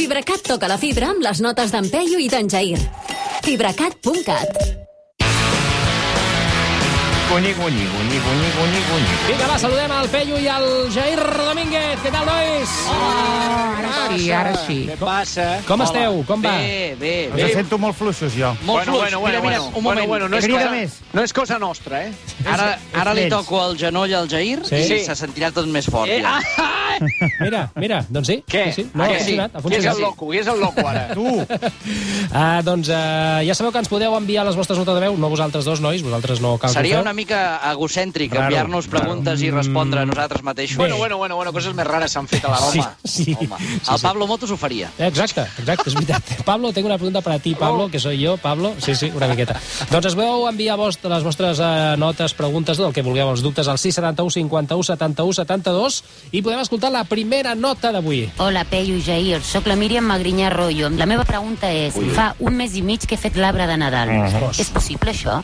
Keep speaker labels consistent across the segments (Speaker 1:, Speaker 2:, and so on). Speaker 1: FibraCat toca la fibra amb les notes d'en Peyu i d'en Jair. FibraCat.cat
Speaker 2: Cunyi, cunyi, cunyi, cunyi, cunyi, cunyi.
Speaker 3: Vinga, va, saludem el Peyu i el Jair Domínguez. Què tal, nois?
Speaker 4: Ara sí, ara sí.
Speaker 5: Què passa?
Speaker 3: Com esteu? Com va?
Speaker 4: Bé, bé,
Speaker 2: Els
Speaker 4: bé.
Speaker 2: sento molt fluixos, jo.
Speaker 4: Molt
Speaker 5: Bueno,
Speaker 4: fluix.
Speaker 5: bueno, bueno,
Speaker 4: mira, mira,
Speaker 5: bueno.
Speaker 4: un moment.
Speaker 5: Bueno, bueno, no és
Speaker 2: Crida
Speaker 5: cosa-
Speaker 2: més.
Speaker 5: No és cosa nostra, eh?
Speaker 4: Ara, ara li
Speaker 2: ells.
Speaker 4: toco el genoll al Jair
Speaker 3: Sí?
Speaker 4: i
Speaker 3: Sí.
Speaker 4: se sentirà tot més fort.
Speaker 5: Eh,
Speaker 4: Ja.
Speaker 5: ah, ah, eh.
Speaker 3: Mira, mira, doncs sí.
Speaker 5: Què?
Speaker 3: Sí, sí. No,
Speaker 5: Ah,
Speaker 3: ha
Speaker 5: que sí?
Speaker 3: funcionat, ha
Speaker 5: Qui és
Speaker 3: funcionat.
Speaker 5: el loco?
Speaker 4: eh.
Speaker 5: Qui és el loco, ara?
Speaker 2: Tu,
Speaker 3: Ah, doncs eh, ja sabeu que ens podeu enviar les vostres notes de veu, no vosaltres dos, nois, vosaltres no cal que
Speaker 4: Seria
Speaker 3: ho feu.
Speaker 4: una mica egocèntric
Speaker 2: Raro,
Speaker 4: enviar-nos preguntes i respondre a nosaltres mateixos.
Speaker 5: Bueno, bueno, bueno, bueno, coses més rares s'han fet a la
Speaker 3: Sí,
Speaker 5: Roma.
Speaker 3: sí.
Speaker 4: Home, el Pablo Motos ho faria.
Speaker 3: Eh, Exacte, exacte, és veritat. Pablo, tengo una pregunta per a ti,
Speaker 5: Oh.
Speaker 3: Pablo, que soy jo, Pablo. Sí, sí, una miqueta. doncs es veu enviar vost, les vostres eh, notes, preguntes, tot el que vulgueu, els dubtes, al 671 51 71 72 i podem escoltar la primera nota d'avui.
Speaker 6: Hola, Peyu i Jair. Soc la Míriam Magrinyà Rollo. La meva pregunta és, fa un mes i mig que he fet l'arbre de Nadal. És possible, això?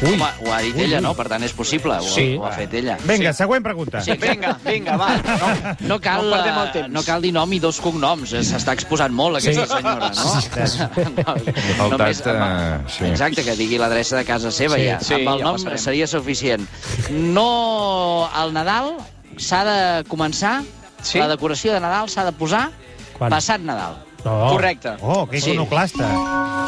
Speaker 3: Ui,
Speaker 4: Home, ho ha dit ella, no? Per tant, és possible. Ho,
Speaker 3: Sí.
Speaker 4: ho ha fet ella.
Speaker 2: vinga, següent pregunta.
Speaker 5: Sí, vinga, vinga, va. No,
Speaker 4: No cal,
Speaker 5: no perdem el
Speaker 4: eh,
Speaker 5: temps.
Speaker 4: no cal dir nom i dos cognoms, eh, s'està exposant molt aquesta
Speaker 3: Sí.
Speaker 4: senyora, no?
Speaker 3: Sí, sí,
Speaker 4: no,
Speaker 2: Al
Speaker 4: només
Speaker 2: tacte,
Speaker 4: amb-
Speaker 2: sí.
Speaker 4: Exacte, que digui l'adreça de casa seva
Speaker 3: Sí,
Speaker 4: ja.
Speaker 5: sí,
Speaker 4: amb el
Speaker 5: ja
Speaker 4: nom
Speaker 5: passarem.
Speaker 4: seria suficient. No, al Nadal s'ha de començar,
Speaker 5: Sí?
Speaker 4: la decoració de Nadal s'ha de posar
Speaker 3: Quan?
Speaker 4: passat Nadal.
Speaker 3: no.
Speaker 5: Correcte.
Speaker 2: Oh, que
Speaker 4: Sí.
Speaker 2: iconoclasta.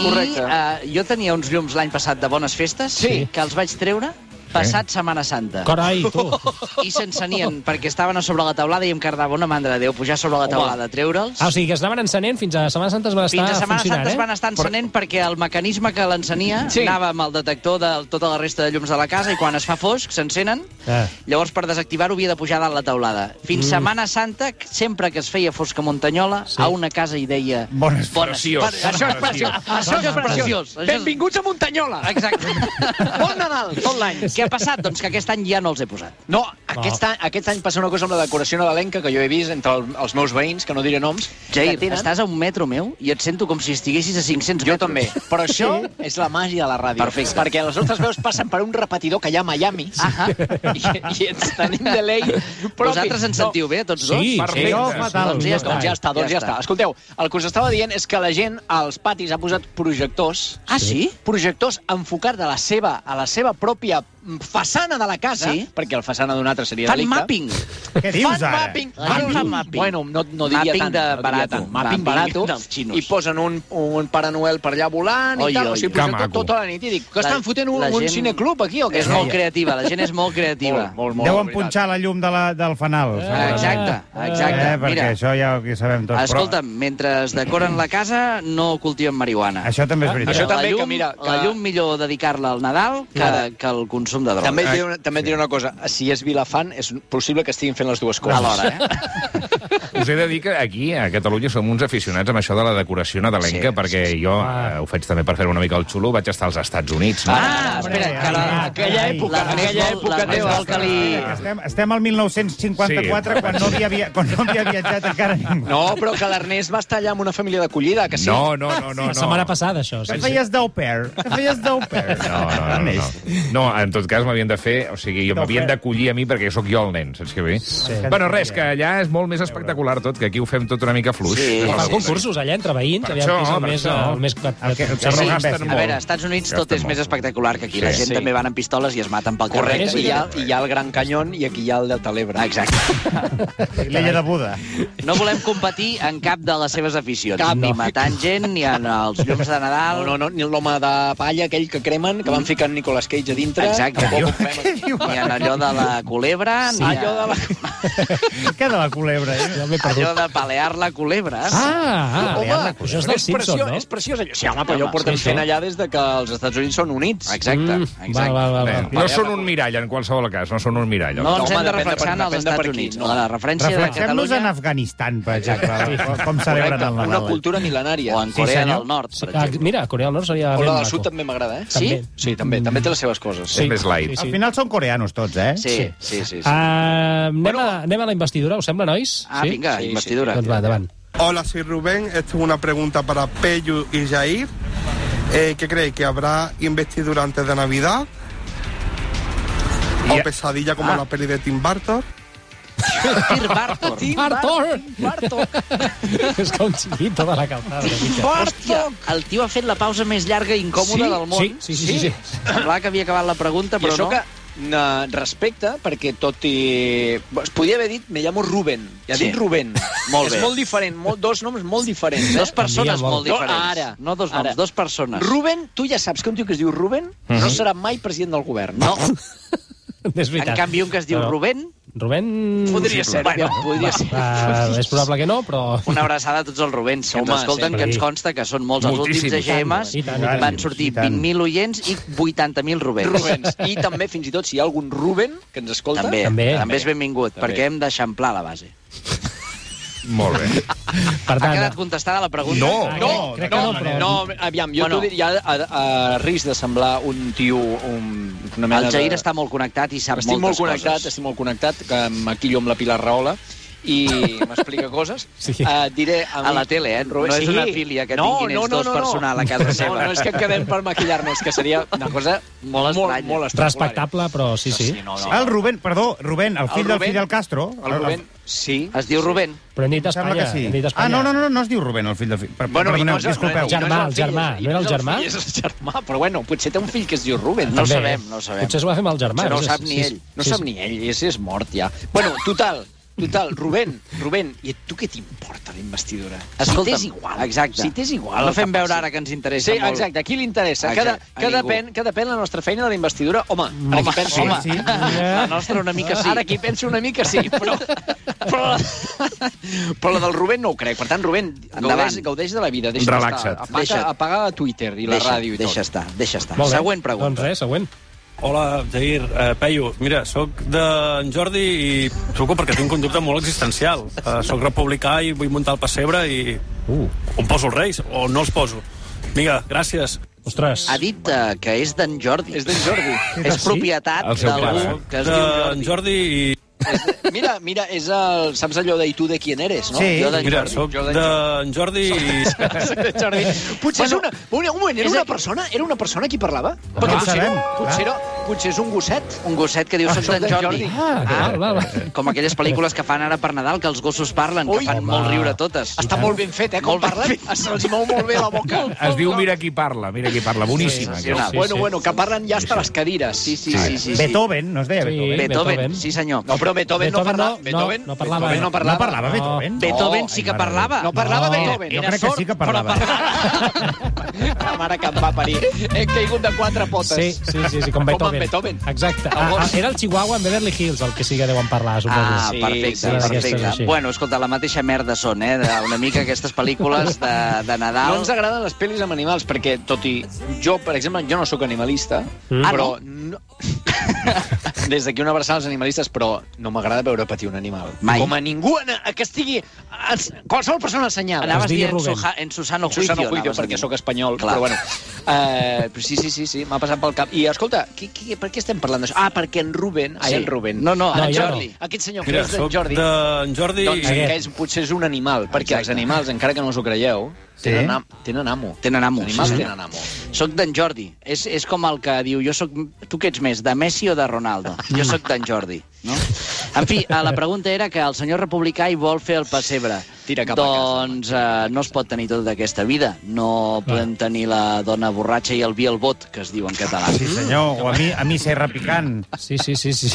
Speaker 5: Correcte.
Speaker 4: I eh, jo tenia uns llums l'any passat de bones festes
Speaker 5: Sí.
Speaker 4: que els vaig treure passat Setmana Santa.
Speaker 3: Oh, Carai, tu.
Speaker 4: i s'encenien perquè estaven a sobre la taulada i em cardava una mandra de Déu pujar sobre la taulada, treure'ls.
Speaker 3: Ah, o sigui, que es anaven encenent fins a Setmana Santa es van estar
Speaker 4: Fins a Setmana
Speaker 3: funcionant,
Speaker 4: Santa
Speaker 3: eh?
Speaker 4: es van estar encenent perquè el mecanisme que l'encenia
Speaker 5: Sí.
Speaker 4: anava amb el detector de tota la resta de llums de la casa i quan es fa fosc s'encenen.
Speaker 3: Ah.
Speaker 4: Llavors, per desactivar-ho, havia de pujar dalt la taulada. Fins mm. Setmana Santa, sempre que es feia fosc a Montanyola, sí. a una casa hi deia...
Speaker 2: Bones
Speaker 4: preciós.
Speaker 5: Això és preciós. Això és preciós.
Speaker 4: Això és-
Speaker 5: Benvinguts a Muntanyola.
Speaker 4: Exacte.
Speaker 5: Bon Nadal, tot l'any.
Speaker 4: Què ha passat? Doncs que aquest any ja no els he posat.
Speaker 5: No, aquest, any, aquest any passa una cosa amb la decoració nadalenca que jo he vist entre el, els meus veïns, que no diré noms.
Speaker 4: Jair,
Speaker 5: que tenen-
Speaker 4: estàs a un metro meu i et sento com si estiguessis a 500
Speaker 5: Jo
Speaker 4: metres.
Speaker 5: també. Però això és la màgia de la ràdio.
Speaker 4: Perfecte.
Speaker 5: Perquè les nostres veus passen per un repetidor que hi ha a Miami.
Speaker 4: Ahà.
Speaker 5: I, I ens tenim de lei propi.
Speaker 4: Vosaltres ens sentiu bé, tots dos?
Speaker 3: Sí,
Speaker 2: Perfecte.
Speaker 3: sí.
Speaker 2: Jo, fatal.
Speaker 4: Doncs ja està.
Speaker 5: Doncs ja està, doncs
Speaker 4: Ja
Speaker 5: ja, està.
Speaker 4: està.
Speaker 5: Escolteu, el que us estava dient és que la gent als patis ha posat projectors.
Speaker 4: Ah, sí?
Speaker 5: Projectors enfocats a la seva, a la seva pròpia façana de la casa,
Speaker 4: Sí.
Speaker 5: perquè la façana d'un altre seria
Speaker 4: Fan
Speaker 5: delicte.
Speaker 4: mapping.
Speaker 2: Què dius,
Speaker 5: fan
Speaker 2: ara?
Speaker 5: mapping.
Speaker 4: La gent fa mapping.
Speaker 5: Bueno, no, no diria
Speaker 4: Mapping
Speaker 5: tant.
Speaker 4: de
Speaker 5: no diria
Speaker 4: barato.
Speaker 5: tant.
Speaker 4: Mapping
Speaker 5: Mapping barato.
Speaker 4: dels xinos.
Speaker 5: I posen un, un Pare Noel per allà volant
Speaker 4: Oi,
Speaker 5: i tal.
Speaker 4: oi,
Speaker 5: o sigui,
Speaker 4: oi.
Speaker 2: Que
Speaker 5: posen
Speaker 2: maco.
Speaker 5: tot, tota la nit i dic que
Speaker 4: La-
Speaker 5: estan fotent un,
Speaker 4: la
Speaker 5: un
Speaker 4: gent-
Speaker 5: cineclub aquí o què?
Speaker 4: És molt
Speaker 5: Noia?
Speaker 4: creativa, la gent és molt creativa.
Speaker 5: Molt, molt, molt.
Speaker 2: Deuen
Speaker 5: de veritat.
Speaker 2: punxar la llum de la, del fanal.
Speaker 4: Ah, Exacte, exacte.
Speaker 2: Eh, perquè
Speaker 4: Mira,
Speaker 2: això ja ho sabem tots.
Speaker 4: escolta'm, mentre es decoren la casa, no cultiven marihuana.
Speaker 2: Però això també és
Speaker 4: Mira,
Speaker 2: veritat.
Speaker 5: això també,
Speaker 4: la llum,
Speaker 5: que mira, que-
Speaker 4: La llum millor dedicar-la al Nadal que, que al consum de droga.
Speaker 5: També
Speaker 2: Eh,
Speaker 5: et diré una, també et diré una cosa. Si és Vilafant, és possible que estiguin fent les dues coses.
Speaker 4: Alhora, eh?
Speaker 7: Us he de dir que aquí, a Catalunya, som uns aficionats amb això de la decoració nadalenca,
Speaker 5: Sí,
Speaker 7: sí, perquè sí, jo eh, ho faig també per fer una mica el xulo, vaig estar als Estats Units. No?
Speaker 4: Ah, espera,
Speaker 2: Hombre,
Speaker 4: que la,
Speaker 2: ai,
Speaker 5: aquella
Speaker 2: ai,
Speaker 5: època,
Speaker 4: la-
Speaker 5: aquella
Speaker 4: la-
Speaker 5: època
Speaker 4: la-
Speaker 5: teva.
Speaker 4: la- que li...
Speaker 2: Estem, estem al 1954,
Speaker 7: Sí.
Speaker 2: quan, no havia, via- quan no havia viatjat encara ningú.
Speaker 5: No, però que l'Ernest va estar allà amb una família d'acollida, que sí?
Speaker 7: No, no, no, no.
Speaker 3: La
Speaker 7: no.
Speaker 3: setmana passada, això.
Speaker 2: Que
Speaker 3: Sí, sí.
Speaker 2: feies d'au pair. Que feies d'au pair.
Speaker 7: No, no, no, no. No, en tot cas m'havien de fer... O sigui, jo m'havien d'acollir a mi perquè sóc jo el nen, saps què bé? Sí. Bueno, res, que allà és molt més espectacular tot, que aquí ho fem tot una mica fluix.
Speaker 4: Sí.
Speaker 3: Fan
Speaker 4: Perfecte.
Speaker 3: concursos allà entre veïns,
Speaker 7: Per
Speaker 3: aviam
Speaker 7: això,
Speaker 3: qui és el
Speaker 7: per
Speaker 3: més...
Speaker 7: això.
Speaker 3: El més...
Speaker 2: El que- el que
Speaker 4: Sí,
Speaker 2: Però
Speaker 4: a
Speaker 2: gasten
Speaker 4: veure, als Estats Units tot
Speaker 7: Gasten
Speaker 4: és
Speaker 7: molt.
Speaker 4: més espectacular que aquí. La
Speaker 7: Sí.
Speaker 4: gent
Speaker 5: Sí.
Speaker 4: també van amb pistoles i es maten pel carrer.
Speaker 5: Correcte,
Speaker 3: Sí.
Speaker 5: i hi, ha, i hi ha el Gran Canyon i aquí hi ha el Delta l'Ebre.
Speaker 4: Exacte.
Speaker 2: L'illa de Buda.
Speaker 4: No volem competir en cap de les seves aficions.
Speaker 5: Cap.
Speaker 4: Ni matant gent, ni en els llums de Nadal.
Speaker 5: No, no, no, ni l'home de palla, aquell que cremen, que van ficar en Nicolas Cage a dintre.
Speaker 4: Exacte.
Speaker 5: Tampoc ho fem.
Speaker 4: Ni en allò de la culebra, sí. ni
Speaker 5: Allò de la...
Speaker 2: Què de la culebra? Eh?
Speaker 4: allò de palear la culebra.
Speaker 3: Ah, ah,
Speaker 5: Home,
Speaker 3: Home, això és del
Speaker 5: és,
Speaker 3: Simpson,
Speaker 5: preciós,
Speaker 3: no?
Speaker 5: és preciós allò. Sí, home, però allò
Speaker 4: Home,
Speaker 5: ho portem
Speaker 3: sí, sí.
Speaker 5: fent allà des de que els Estats Units són units.
Speaker 4: Exacte,
Speaker 3: Mm,
Speaker 4: exacte.
Speaker 3: Val, val,
Speaker 7: Bé,
Speaker 3: val.
Speaker 7: no són un mirall, en qualsevol cas, no són un mirall.
Speaker 4: No ens
Speaker 5: Home,
Speaker 4: hem de
Speaker 5: depèn de per-
Speaker 4: reflexar en els
Speaker 5: depèn de per
Speaker 4: Estats
Speaker 5: qui,
Speaker 4: Units.
Speaker 5: no.
Speaker 4: No. La referència de
Speaker 2: Reflexem-nos en
Speaker 4: Catalunya
Speaker 2: Afganistan, per exemple, com celebren
Speaker 5: Correcte,
Speaker 2: el
Speaker 5: una
Speaker 2: Nadal.
Speaker 5: cultura mil·lenària.
Speaker 4: o en Corea
Speaker 2: senyor.
Speaker 4: del Nord, per
Speaker 3: Ah,
Speaker 4: exemple.
Speaker 3: mira, Corea del Nord seria...
Speaker 5: O
Speaker 3: ben
Speaker 5: la del
Speaker 3: maco.
Speaker 5: Sud també m'agrada, eh?
Speaker 4: Sí?
Speaker 5: Sí, també, també té les seves coses.
Speaker 7: Sí. més light.
Speaker 2: Al final són coreanos tots, eh?
Speaker 4: Sí, sí, sí. sí.
Speaker 3: Ah, anem, a, anem a la investidura, us sembla, nois?
Speaker 4: Ah, vinga,
Speaker 5: Sí, sí.
Speaker 4: investidura.
Speaker 3: Doncs va, endavant.
Speaker 8: Hola, soy Rubén. Esto es una pregunta para Peyu y Jair. Eh, ¿Qué creéis? ¿Que habrá investidura antes de Navidad? ¿O pesadilla como la peli de Tim Burton?
Speaker 4: Tir Bartor.
Speaker 3: Bartor!
Speaker 4: Bartok.
Speaker 3: És com xilito de la calçada. una mica.
Speaker 4: Hòstia, el tio ha fet la pausa més llarga i incòmoda del món.
Speaker 3: Sí, sí, sí, sí, sí.
Speaker 4: Semblava que havia acabat la pregunta,
Speaker 5: I
Speaker 4: però
Speaker 5: això
Speaker 4: no.
Speaker 5: que no, respecte, perquè tot i... Es podia haver dit, me llamo Ruben. I ha
Speaker 4: Sí.
Speaker 5: dit Rubén.
Speaker 4: Molt
Speaker 5: és
Speaker 4: bé.
Speaker 5: molt diferent, molt, dos noms molt diferents. Eh?
Speaker 4: Dos persones
Speaker 3: Canvia
Speaker 4: molt
Speaker 5: molt.
Speaker 4: diferents.
Speaker 5: No, ara.
Speaker 4: No dos noms,
Speaker 5: Ara.
Speaker 4: dos persones.
Speaker 5: Ruben, tu ja saps que un tio que es diu Ruben no serà mai president del govern.
Speaker 4: Mhm. No,
Speaker 3: És
Speaker 4: en
Speaker 3: veritat.
Speaker 4: canvi un que es diu
Speaker 3: Però-
Speaker 4: Rubén,
Speaker 3: Rubén...
Speaker 5: Podria ser.
Speaker 4: Bueno,
Speaker 5: aviam,
Speaker 4: va.
Speaker 5: podria ser.
Speaker 3: Uh, és probable que no, però...
Speaker 4: una abraçada a tots els Rubens, que ens
Speaker 5: Home,
Speaker 4: escolten,
Speaker 3: sempre.
Speaker 4: que ens consta que són molts. Els últims
Speaker 7: Moltíssims.
Speaker 4: EGMs
Speaker 3: I tant, i tant.
Speaker 4: van sortir
Speaker 2: I tant.
Speaker 4: 20.000 oients i 80.000 Rubens.
Speaker 5: Rubens. I també, fins i tot, si hi ha algun Ruben que ens escolta...
Speaker 4: També, també,
Speaker 3: També.
Speaker 4: també és benvingut,
Speaker 5: També.
Speaker 4: perquè hem d'eixamplar la base.
Speaker 7: Molt bé.
Speaker 3: Per
Speaker 4: Ha
Speaker 3: tant, eh,
Speaker 4: quedat contestada la pregunta?
Speaker 7: No.
Speaker 3: ah,
Speaker 5: No,
Speaker 3: crec, crec
Speaker 5: no,
Speaker 3: que
Speaker 5: no,
Speaker 3: no, però...
Speaker 5: no, aviam, jo
Speaker 4: Bueno.
Speaker 5: bueno. t'ho diria a, a, a risc de semblar un tio... Un, una mena
Speaker 4: El Jair
Speaker 5: de...
Speaker 4: està molt connectat i sap
Speaker 5: Estic molt
Speaker 4: moltes
Speaker 5: connectat,
Speaker 4: coses.
Speaker 5: estic molt connectat, que amb- aquí jo amb la Pilar Rahola, i m'explica coses.
Speaker 3: Sí.
Speaker 5: Eh, diré amb...
Speaker 4: A la tele, eh? No és una filia que tinguin ells dos personal a casa seva.
Speaker 5: No, no, és que quedem per maquillar-nos, que seria una cosa
Speaker 4: Molt
Speaker 5: molt, molt,
Speaker 4: estranya.
Speaker 5: molt espectacular.
Speaker 3: Respectable, però sí, sí.
Speaker 5: no, no.
Speaker 2: El Rubén, perdó, Rubén, el fill
Speaker 5: El
Speaker 2: del
Speaker 5: Rubén.
Speaker 2: Fidel Castro.
Speaker 5: El Rubén, sí.
Speaker 4: Es diu Rubén.
Speaker 3: Però hem dit
Speaker 2: Em sembla que
Speaker 3: Espanya.
Speaker 2: sí.
Speaker 3: Hem dit
Speaker 2: Ah,
Speaker 3: Espanya.
Speaker 2: no, no, no, no es diu Rubén, el fill del fill. Per,
Speaker 5: i
Speaker 2: perdoneu,
Speaker 5: és el-
Speaker 2: disculpeu.
Speaker 5: i no és
Speaker 3: Germà, el
Speaker 5: fill,
Speaker 3: germà.
Speaker 5: i
Speaker 3: No era el
Speaker 5: és
Speaker 3: germà?
Speaker 5: fill, És el germà, però bueno, potser té un fill que es diu Ruben.
Speaker 4: No ho
Speaker 3: També. eh?
Speaker 4: sabem, no ho sabem.
Speaker 3: Potser es ho va fer amb el germà.
Speaker 4: Potser no ho
Speaker 3: sé,
Speaker 4: sap ni
Speaker 3: sí,
Speaker 4: ell.
Speaker 5: No
Speaker 3: sí,
Speaker 5: sap
Speaker 3: sí.
Speaker 5: ni ell, és, és mort ja. Bueno, total, total, Rubén, Rubén, i a tu què t'importa la investidura?
Speaker 4: Escolta'm,
Speaker 5: si t'és igual,
Speaker 4: exacte.
Speaker 5: Si t'és igual...
Speaker 4: No
Speaker 5: el que
Speaker 4: fem veure
Speaker 5: passi.
Speaker 4: ara que ens interessa
Speaker 5: Sí,
Speaker 4: molt.
Speaker 5: exacte, a qui li interessa?
Speaker 4: Exacte,
Speaker 5: Exacte,
Speaker 4: a
Speaker 5: que, de, que,
Speaker 4: ningú.
Speaker 5: depèn, que depèn la nostra feina de la investidura. Home, ara
Speaker 4: Home,
Speaker 5: que penso...
Speaker 4: home,
Speaker 2: Sí, sí.
Speaker 4: la nostra una mica sí.
Speaker 5: Ara aquí penso una mica sí, però... Però, però la del Rubén no ho crec. Per tant, Rubén, gaudeix,
Speaker 4: Endavant.
Speaker 5: gaudeix de la vida. Deixa
Speaker 7: Relaxa't.
Speaker 5: Estar. Apaga,
Speaker 4: Deixa't.
Speaker 5: apaga Twitter i la
Speaker 4: deixa,
Speaker 5: ràdio i
Speaker 4: deixa
Speaker 5: tot.
Speaker 4: estar, deixa estar.
Speaker 3: Molt bé.
Speaker 4: Següent
Speaker 3: Doncs
Speaker 4: pregunta.
Speaker 3: res, següent.
Speaker 9: Hola, Jair. Uh, Peyu, mira, sóc d'en Jordi i truco perquè tinc un dubte molt existencial. Uh, sóc republicà i vull muntar el pessebre i...
Speaker 3: Uh,
Speaker 9: On poso els reis o no els poso? Vinga, gràcies.
Speaker 3: ostres.
Speaker 4: Ha dit eh, que és d'en Jordi.
Speaker 5: És d'en Jordi.
Speaker 4: És propietat
Speaker 7: El seu
Speaker 4: d'algú
Speaker 7: pare.
Speaker 4: que es diu
Speaker 9: D'en
Speaker 4: Jordi.
Speaker 9: Jordi i...
Speaker 5: És de- Mira, mira, és el... Saps allò de i tu de quién eres, no?
Speaker 2: Sí.
Speaker 5: Jo d'en
Speaker 9: Mira,
Speaker 5: Jordi.
Speaker 9: sóc
Speaker 5: Jo d'en
Speaker 9: d'en Jordi i...
Speaker 5: Jordi. Jordi. Potser és una... Un un moment, era
Speaker 4: és
Speaker 5: una
Speaker 4: aquí.
Speaker 5: persona? Era una persona qui parlava?
Speaker 2: Però no ho
Speaker 5: potser,
Speaker 2: sabem,
Speaker 5: potser, no, potser és un gosset?
Speaker 4: Un gosset que diu soc d'en Jordi.
Speaker 3: Ah, val, val, val.
Speaker 4: Com aquelles pel·lícules que fan ara per Nadal, que els gossos parlen,
Speaker 5: Ui,
Speaker 4: que fan
Speaker 5: home.
Speaker 4: molt riure totes.
Speaker 5: Està molt ben fet, eh, com
Speaker 4: Molt ben
Speaker 5: parlen. Se'ls mou molt bé la boca.
Speaker 7: Es diu Mira qui parla, Mira qui parla. Boníssima.
Speaker 4: Sí,
Speaker 7: aquesta.
Speaker 4: sí,
Speaker 5: bueno,
Speaker 3: sí.
Speaker 5: bueno, que parlen ja hasta les cadires.
Speaker 4: Sí, sí, sí. sí, sí.
Speaker 2: Beethoven, no es deia
Speaker 3: Sí.
Speaker 2: Beethoven.
Speaker 4: Beethoven,
Speaker 3: Beethoven.
Speaker 4: sí senyor.
Speaker 5: No, però Beethoven, no
Speaker 3: Beethoven
Speaker 5: parlava.
Speaker 3: no,
Speaker 5: Beethoven
Speaker 3: no parlava,
Speaker 5: Beethoven
Speaker 3: eh?
Speaker 5: no parlava.
Speaker 2: No parlava
Speaker 3: No.
Speaker 2: Beethoven?
Speaker 4: Beethoven sí
Speaker 2: Ai,
Speaker 4: que
Speaker 2: mare de
Speaker 4: parlava.
Speaker 5: No parlava
Speaker 3: No,
Speaker 5: Beethoven.
Speaker 2: jo
Speaker 5: Era
Speaker 2: crec que
Speaker 5: sord,
Speaker 2: sí que
Speaker 5: però
Speaker 2: parlava.
Speaker 5: La mare que em va parir. He caigut de quatre potes.
Speaker 3: Sí, sí, sí, sí, com
Speaker 5: Com
Speaker 3: Beethoven.
Speaker 5: en Beethoven.
Speaker 3: Exacte. Ah, ah, era el Chihuahua en Beverly Hills, el que sí que deuen parlar, suposo.
Speaker 4: Ah,
Speaker 5: Sí,
Speaker 4: perfecte,
Speaker 5: sí,
Speaker 3: sí,
Speaker 4: perfecte.
Speaker 3: sí, sí.
Speaker 4: Bueno, escolta, la mateixa merda són, eh? de- Una mica aquestes pel·lícules de, de
Speaker 5: No
Speaker 4: Nadal.
Speaker 5: ens agraden les pel·lis amb animals, perquè, tot i... Jo, per exemple, jo no sóc animalista,
Speaker 3: Mm.
Speaker 4: Ah,
Speaker 5: però... No... Des d'aquí una abraçada als animalistes, però no m'agrada veure patir un animal.
Speaker 4: Mai.
Speaker 5: Com a ningú en, a que estigui... A, qualsevol persona assenyada.
Speaker 3: Anava- Es
Speaker 4: Anaves
Speaker 3: digui
Speaker 4: dient
Speaker 3: Doncs Rubén.
Speaker 4: Suja- en Susano Juicio.
Speaker 5: Susano Juicio,
Speaker 4: anaves
Speaker 5: perquè
Speaker 4: dient.
Speaker 5: sóc espanyol,
Speaker 4: Clar.
Speaker 5: Clar. però bueno. Eh, però sí, sí, sí, sí m'ha passat pel cap. I escolta, qui, qui, per què estem parlant d'això? Ah, perquè en Ruben... Ai,
Speaker 4: Sí.
Speaker 5: en Ruben.
Speaker 4: No, no,
Speaker 3: no,
Speaker 5: en
Speaker 3: jo
Speaker 5: Jordi.
Speaker 3: no.
Speaker 5: Aquest senyor que
Speaker 9: Mira,
Speaker 5: és d'en
Speaker 9: sóc
Speaker 5: Jordi.
Speaker 9: d'en Jordi i...
Speaker 5: Doncs que és, potser és un animal, perquè els animals, encara que no us ho creieu, tenen, am tenen amo.
Speaker 4: Tenen amo,
Speaker 5: Els animals
Speaker 4: sí, senyor.
Speaker 5: tenen amo.
Speaker 4: Soc d'en Jordi. És, és com el que diu, jo soc... Tu què ets més, de Messi o de Ronaldo? Jo sóc d'en Jordi, no? En fi, eh, la pregunta era que el senyor republicà hi vol fer el pessebre.
Speaker 5: Tira cap a
Speaker 4: doncs eh, no es pot tenir tota aquesta vida. No podem tenir la dona borratxa i el vi al bot, que es diu en català.
Speaker 2: Sí, senyor, o a mi, a mi serra picant.
Speaker 3: Sí, sí, sí, sí.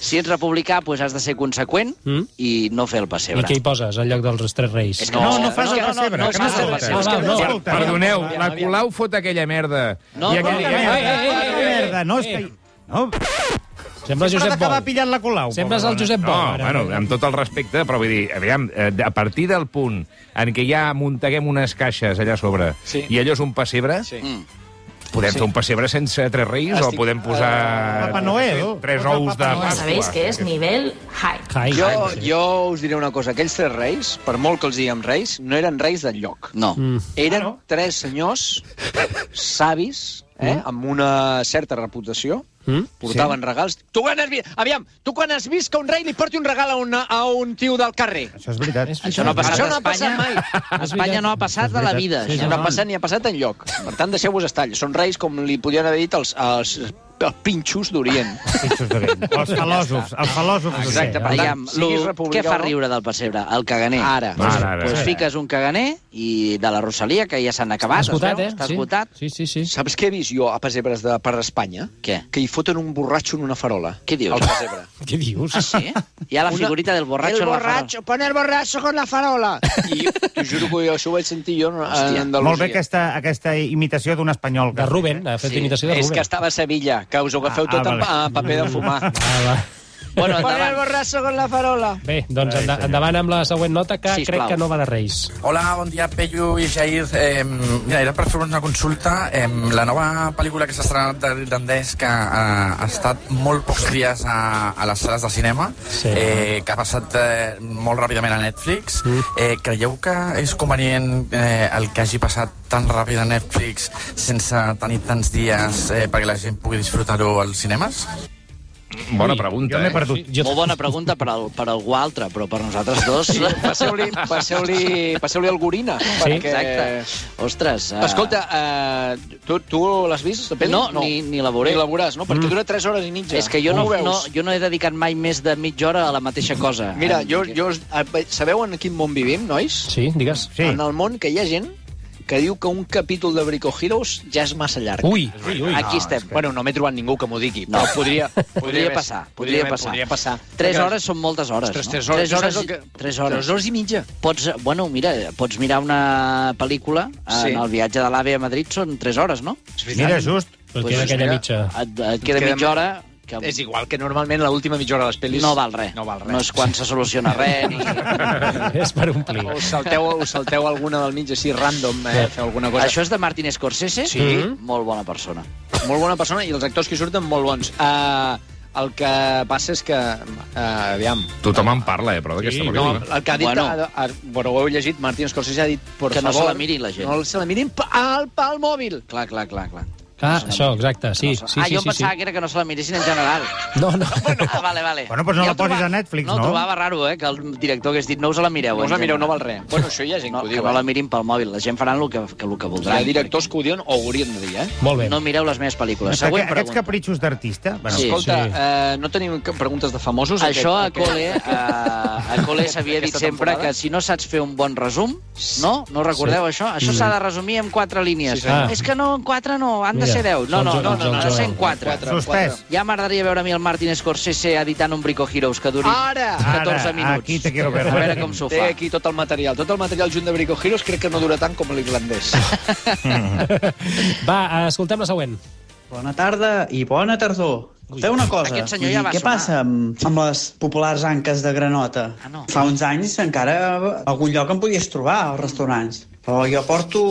Speaker 4: Si ets republicà, doncs has de ser conseqüent
Speaker 3: Mm.
Speaker 4: i no fer el
Speaker 3: I
Speaker 4: pessebre.
Speaker 3: què hi poses, en lloc dels tres reis?
Speaker 4: És que
Speaker 2: No, no, no fas
Speaker 5: no,
Speaker 2: el
Speaker 5: no, no,
Speaker 2: pessebre,
Speaker 5: no,
Speaker 2: que
Speaker 5: no,
Speaker 2: no
Speaker 5: no,
Speaker 2: escolta.
Speaker 3: no, no, no,
Speaker 2: Escolta,
Speaker 7: Perdoneu,
Speaker 2: escolta.
Speaker 7: la Colau fot aquella merda.
Speaker 4: No,
Speaker 7: I
Speaker 4: no,
Speaker 7: aquell...
Speaker 2: Quina
Speaker 3: Eh, eh,
Speaker 2: merda,
Speaker 3: eh, eh,
Speaker 2: quina
Speaker 3: eh,
Speaker 2: merda, no, és que... No,
Speaker 3: Sembla
Speaker 2: sempre
Speaker 3: Josep
Speaker 2: acabar
Speaker 3: Bou.
Speaker 2: pillant la Colau.
Speaker 3: Sempre és el
Speaker 2: pobra
Speaker 3: Josep Bou.
Speaker 7: No,
Speaker 3: ara.
Speaker 7: bueno, amb tot el respecte, però vull dir, aviam, eh, a partir del punt en què ja muntaguem unes caixes allà a sobre
Speaker 5: Sí.
Speaker 7: i allò és un pessebre,
Speaker 5: Sí.
Speaker 7: podem fer un pessebre sense tres reis
Speaker 5: Estic-
Speaker 7: o podem posar...
Speaker 2: eh, Papa Noel.
Speaker 7: Tres
Speaker 2: Posa el
Speaker 7: ous
Speaker 2: Papa
Speaker 7: de
Speaker 2: Noel.
Speaker 7: Pasqua.
Speaker 10: Sabéis que es nivel high.
Speaker 3: Ai,
Speaker 5: Jo,
Speaker 3: sí.
Speaker 5: jo us diré una cosa. Aquells tres reis, per molt que els diguem reis, no eren reis del lloc.
Speaker 4: No.
Speaker 5: Eren tres senyors savis, eh, amb una certa reputació, portaven regals. Tu quan has vist... Aviam, tu quan has vist que un rei li porti un regal a, una, a un tio del carrer?
Speaker 2: Això és veritat.
Speaker 4: Això no ha passat
Speaker 5: Això
Speaker 4: a
Speaker 5: no ha
Speaker 4: Espanya.
Speaker 5: passat mai.
Speaker 4: A Espanya no ha passat de la vida.
Speaker 5: Ni
Speaker 4: això.
Speaker 5: ha passat ni ha passat en lloc. Per tant, deixeu-vos estar. Són reis com li podien haver dit als, als els pinxos d'Orient.
Speaker 2: Pitjos de vent. Els filòsofs, els eh? filòsofs. de
Speaker 5: Exacte,
Speaker 2: ser,
Speaker 5: per
Speaker 2: no?
Speaker 5: allà.
Speaker 4: Ah, Aviam,
Speaker 5: siguis
Speaker 4: lo,
Speaker 5: republicà
Speaker 4: què fa
Speaker 5: o no.
Speaker 4: riure del pessebre? El caganer.
Speaker 5: Ara.
Speaker 4: Doncs,
Speaker 7: Ara, ara.
Speaker 4: doncs fiques un caganer i de la Rosalia, que ja s'han acabat, es
Speaker 3: esgotat,
Speaker 4: veu,
Speaker 3: eh?
Speaker 4: està
Speaker 3: Sí.
Speaker 4: esgotat.
Speaker 3: Sí, sí, sí.
Speaker 5: Saps què he vist jo a Pesebres de, per Espanya?
Speaker 4: Què?
Speaker 5: Que hi foten un borratxo en una farola.
Speaker 4: Què dius?
Speaker 5: Al Pessebre.
Speaker 3: Què dius?
Speaker 4: Ah, sí? Hi ha la figurita del borratxo.
Speaker 5: El
Speaker 4: a la farola.
Speaker 5: borratxo, pon el borratxo con la farola. I t'ho juro que jo, això ho vaig sentir jo en
Speaker 4: Hòstia.
Speaker 5: Andalusia.
Speaker 2: Molt bé aquesta, aquesta imitació d'un espanyol.
Speaker 3: De Ruben, ha fet sí. imitació de
Speaker 5: És que
Speaker 3: Ruben.
Speaker 5: estava a Sevilla, que us ho
Speaker 2: Ah,
Speaker 5: agafeu ah, tot
Speaker 2: ah,
Speaker 5: amb,
Speaker 2: vale.
Speaker 5: amb paper de fumar.
Speaker 3: Ah, va.
Speaker 4: Bueno,
Speaker 5: Pon el
Speaker 4: endavant.
Speaker 5: borratxo con la farola.
Speaker 3: Bé, doncs enda, endavant amb la següent nota, que
Speaker 4: Sisplau.
Speaker 3: crec que no va de Reis.
Speaker 11: Hola, bon dia, Peyu i Jair. Eh, mira, era per fer una consulta. Eh, la nova pel·lícula que s'ha estrenat de l'irlandès, que eh, ha estat molt pocs dies a, a les sales de cinema,
Speaker 3: Sí.
Speaker 11: eh, que ha passat eh, molt ràpidament a Netflix, eh, creieu que és convenient eh, el que hagi passat tan ràpid a Netflix sense tenir tants dies eh, perquè la gent pugui disfrutar-ho als cinemes?
Speaker 7: Bona pregunta,
Speaker 2: Jo m'he
Speaker 7: eh?
Speaker 2: perdut.
Speaker 3: Jo-
Speaker 4: Molt bona pregunta per, al, per algú altre, però per nosaltres dos...
Speaker 5: Passeu-li passeu passeu el gorina. Sí, perquè...
Speaker 4: Exacte. Ostres. eh,
Speaker 5: Escolta, eh, tu, tu l'has vist? la peli?
Speaker 4: No, ni- ni la veuré.
Speaker 5: Ni la veuràs, no? Perquè dura 3 hores i mitja.
Speaker 4: és que jo
Speaker 5: Com
Speaker 4: no,
Speaker 5: ho veus?
Speaker 4: no, jo no he dedicat mai més de mitja hora a la mateixa cosa.
Speaker 5: Mira,
Speaker 4: En-
Speaker 5: jo, jo, us- eh, sabeu en quin món vivim, nois?
Speaker 3: Sí, digues.
Speaker 2: Sí.
Speaker 5: En el món que hi ha gent que diu que un capítol de Brico Heroes ja és massa llarg.
Speaker 3: Ui, ui, ui.
Speaker 4: Aquí estem.
Speaker 5: Bueno, no m'he trobat ningú que m'ho digui,
Speaker 4: No.
Speaker 5: però podria,
Speaker 4: Podria
Speaker 5: haver-
Speaker 4: passar, podria
Speaker 5: haver-
Speaker 4: passar.
Speaker 5: Podria passar.
Speaker 4: Tres
Speaker 5: Perquè-
Speaker 4: hores són moltes hores,
Speaker 5: Ostres,
Speaker 4: no?
Speaker 5: tres hores.
Speaker 4: Tres
Speaker 5: Tu saps
Speaker 4: hores,
Speaker 5: el que-
Speaker 4: tres hores.
Speaker 5: Tres hores i mitja.
Speaker 4: Pots, bueno, mira, pots mirar una pel·lícula
Speaker 5: Sí.
Speaker 4: sí. en el viatge de l'AVE a Madrid, són 3 hores, no?
Speaker 2: Mira, just.
Speaker 3: Però
Speaker 4: Pues
Speaker 3: queda
Speaker 4: mira,
Speaker 3: aquella mitja.
Speaker 4: Et, et queda
Speaker 5: Queda
Speaker 4: mitja hora que
Speaker 5: És igual que normalment l'última mitja hora de les pel·lis...
Speaker 4: no val res.
Speaker 5: No val res.
Speaker 4: No és quan se soluciona res. Ni...
Speaker 3: És per omplir.
Speaker 5: O us salteu, us salteu alguna del mig així, random, eh, feu alguna cosa.
Speaker 4: Això és de Martin Scorsese?
Speaker 5: Sí.
Speaker 4: Molt bona persona.
Speaker 5: Molt bona persona i els actors que hi surten molt bons. Uh, el que passa és que... Uh, aviam...
Speaker 7: Tothom en parla, eh, però,
Speaker 3: Sí,
Speaker 7: d'aquesta sí,
Speaker 5: No,
Speaker 7: pel·lícula.
Speaker 5: el que ha dit...
Speaker 4: Bueno.
Speaker 5: Bueno, a, a, bueno ho heu llegit, Martin Scorsese ha dit... Por
Speaker 4: Que no se
Speaker 5: favor,
Speaker 4: la miri la gent."
Speaker 5: No se la mirin pa- al pal mòbil.
Speaker 4: Clar, clar, clar, clar.
Speaker 3: Ah, això, exacte, sí,
Speaker 4: no se-
Speaker 3: sí,
Speaker 4: ah,
Speaker 3: sí, sí,
Speaker 4: jo em
Speaker 3: sí.
Speaker 4: pensava que era que no se la miressin en general.
Speaker 3: No, no.
Speaker 4: Ah, vale, vale.
Speaker 2: Bueno, doncs no
Speaker 4: Jo
Speaker 2: la posis
Speaker 4: troba-
Speaker 2: a Netflix,
Speaker 4: No,
Speaker 2: no?
Speaker 4: trobava raro, eh, que el director hagués dit no us la mireu.
Speaker 5: No us
Speaker 4: en
Speaker 5: la mireu, no
Speaker 4: general."
Speaker 5: val res. Bueno, això hi ha gent
Speaker 4: No,
Speaker 5: que ho
Speaker 4: que
Speaker 5: diu.
Speaker 4: no la
Speaker 5: eh?
Speaker 4: mirin pel mòbil. La gent faran el que, que, el que voldran.
Speaker 5: Hi ha directors que ho diuen o ho haurien de dir, eh?
Speaker 3: Molt bé.
Speaker 4: No mireu les meves
Speaker 2: Següent
Speaker 4: pel·lícules. Següent
Speaker 2: Aquests
Speaker 4: pregunta.
Speaker 2: capritxos d'artista... Bueno,
Speaker 4: Sí.
Speaker 5: Escolta,
Speaker 3: Sí.
Speaker 5: eh, no tenim que- preguntes de famosos?
Speaker 4: Això a
Speaker 5: aquest-
Speaker 4: cole, eh, a, a cole s'havia dit
Speaker 5: Aquesta
Speaker 4: sempre
Speaker 5: temporada?
Speaker 4: que si no saps fer un bon resum, no? No recordeu això? Això s'ha de resumir en quatre línies.
Speaker 3: Sí, senyor.
Speaker 4: És que no, en quatre no, han de
Speaker 3: Mira,
Speaker 4: ser deu. No, no,
Speaker 3: són
Speaker 4: no,
Speaker 3: jo-
Speaker 4: no,
Speaker 3: són
Speaker 4: no, ha de
Speaker 3: jo-
Speaker 4: ser en quatre.
Speaker 5: Quatre.
Speaker 2: Suspès.
Speaker 4: Ja m'agradaria veure a mi el Martin Scorsese editant un Brico Heroes que duri
Speaker 5: Ara!
Speaker 4: 14
Speaker 2: Ah! Ara,
Speaker 4: minuts.
Speaker 2: aquí te quiero ver.
Speaker 4: A veure com s'ho
Speaker 5: Té
Speaker 4: fa.
Speaker 5: aquí tot el material. Tot el material junt de Brico Heroes crec que no dura tant com l'irlandès.
Speaker 3: Va, escoltem la següent.
Speaker 11: Bona tarda i bona tardor. Té una cosa,
Speaker 4: Aquest senyor ja va
Speaker 11: què
Speaker 4: sonar.
Speaker 11: passa amb, amb les populars anques de granota?
Speaker 4: Ah, no.
Speaker 11: Fa uns anys encara a algun lloc em podies trobar als restaurants, però jo porto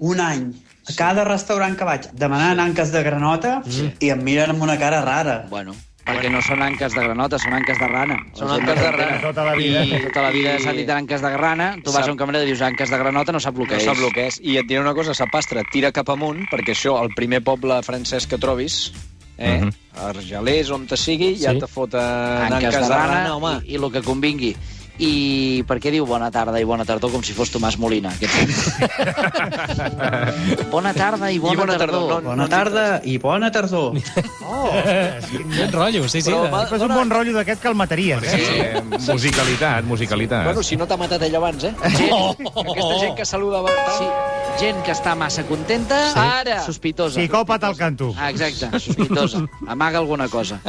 Speaker 11: un any a cada restaurant que vaig demanant anques de granota i em miren amb una cara rara.
Speaker 4: Bueno, perquè no són anques de granota, són anques de rana.
Speaker 5: Són anques de rana.
Speaker 2: Tota la vida.
Speaker 4: I tota la vida
Speaker 5: I-
Speaker 4: s'ha dit anques de grana, tu vas
Speaker 5: Sap-
Speaker 4: a un cambrer i dius anques de granota, no sap el que
Speaker 5: No
Speaker 4: és.
Speaker 5: sap el que és. I et diré una cosa, sapastre, tira cap amunt, perquè això, el primer poble francès que trobis, eh,
Speaker 7: Mhm.
Speaker 5: Argelers, on te sigui, ja
Speaker 3: Sí.
Speaker 5: te foten
Speaker 4: Anques de rana,
Speaker 5: home.
Speaker 4: i, i el que convingui. I per què diu bona tarda i bona tardor com si fos Tomàs Molina? Aquest... bona tarda i bona,
Speaker 5: I bona tardor.
Speaker 4: tardor.
Speaker 5: No,
Speaker 11: Bona tarda i bona tardor.
Speaker 3: Quin rotllo, sí, sí.
Speaker 5: Però,
Speaker 3: de-
Speaker 5: va-
Speaker 2: És un bon rotllo d'aquest que el mataries, eh?
Speaker 7: Eh, musicalitat, musicalitat.
Speaker 5: Bueno, si no t'ha matat ell abans, eh?
Speaker 4: Gent,
Speaker 5: Aquesta gent que saluda abans.
Speaker 4: sí, gent que està massa contenta,
Speaker 5: Sí.
Speaker 4: ara sospitosa.
Speaker 2: Psicòpata al canto.
Speaker 4: Ah, exacte, sospitosa. Amaga alguna cosa.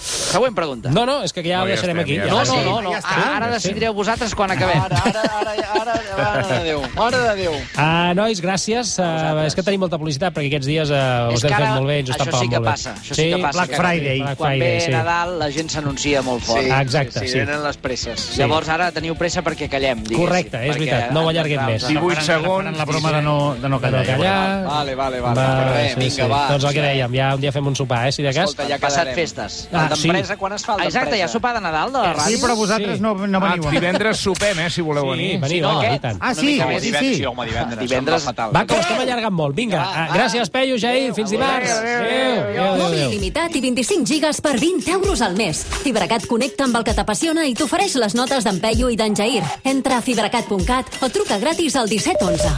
Speaker 4: Següent pregunta.
Speaker 3: No, no, és que ja
Speaker 7: No,
Speaker 3: ho
Speaker 7: ja
Speaker 3: deixarem
Speaker 7: estem,
Speaker 3: aquí.
Speaker 7: ja
Speaker 4: no,
Speaker 3: sí.
Speaker 4: no, no, no.
Speaker 2: Ja està.
Speaker 4: Ara, ara decidireu vosaltres quan acabem.
Speaker 5: Ara, ara, ara, ara, ara, mare de Déu, mare de Déu.
Speaker 3: Ah, nois, gràcies. Ah, és que tenim molta publicitat perquè aquests dies uh, us
Speaker 4: És que
Speaker 3: hem fet
Speaker 4: ara
Speaker 3: molt bé i ens ho estan
Speaker 4: això sí
Speaker 3: pagant
Speaker 4: que
Speaker 3: molt bé.
Speaker 4: passa, això sí que passa,
Speaker 2: Black
Speaker 4: que-
Speaker 2: Friday.
Speaker 3: Black
Speaker 4: Quan
Speaker 3: Friday,
Speaker 4: ve
Speaker 3: sí.
Speaker 4: Nadal, la gent s'anuncia molt fort.
Speaker 3: Ah, exacte, sí.
Speaker 5: sí. Venen les presses.
Speaker 4: Sí. Llavors ara teniu pressa perquè callem, diguéssim.
Speaker 3: Correcte, és
Speaker 4: perquè
Speaker 3: veritat, no ho allarguem més.
Speaker 4: ens-
Speaker 7: 18 segons.
Speaker 2: Faran la broma de no, de no
Speaker 3: Que no
Speaker 2: callar. ja veuràs.
Speaker 3: callar.
Speaker 5: Vale, vale, vale. Va, Res,
Speaker 3: sí,
Speaker 5: vinga,
Speaker 3: sí.
Speaker 5: va.
Speaker 3: Doncs el que dèiem, ja un dia fem un sopar, eh, si de cas.
Speaker 5: Escolta, ja
Speaker 4: Passat
Speaker 5: quedarem.
Speaker 4: festes.
Speaker 5: El
Speaker 3: Ah,
Speaker 5: d'empresa,
Speaker 3: sí.
Speaker 5: quan es fa el
Speaker 4: Exacte, hi ha
Speaker 5: d'empresa?
Speaker 4: sopar de Nadal de la ràdio.
Speaker 2: Sí, però vosaltres
Speaker 3: Sí.
Speaker 2: no, no
Speaker 7: Ah,
Speaker 2: veniu.
Speaker 7: divendres sopem, eh, si voleu venir.
Speaker 3: Sí, veniu,
Speaker 4: no,
Speaker 3: home,
Speaker 4: aquest.
Speaker 3: i tant.
Speaker 2: Ah, sí,
Speaker 5: Home,
Speaker 2: sí,
Speaker 5: divendres,
Speaker 2: sí.
Speaker 5: sí, home, divendres.
Speaker 4: Divendres.
Speaker 5: Em va fatal.
Speaker 3: Va, que ho estem allargant molt. Vinga, ah, gràcies, Peyu, Jair. Fins dimarts. Adéu, adéu,
Speaker 1: Mòbil
Speaker 3: adéu.
Speaker 1: il·limitat i 25 gigas per 20 euros al mes. Fibracat connecta amb el que t'apassiona i t'ofereix les notes d'en Peyu i d'en Jair. Entra a fibracat.cat o truca gratis al 1711.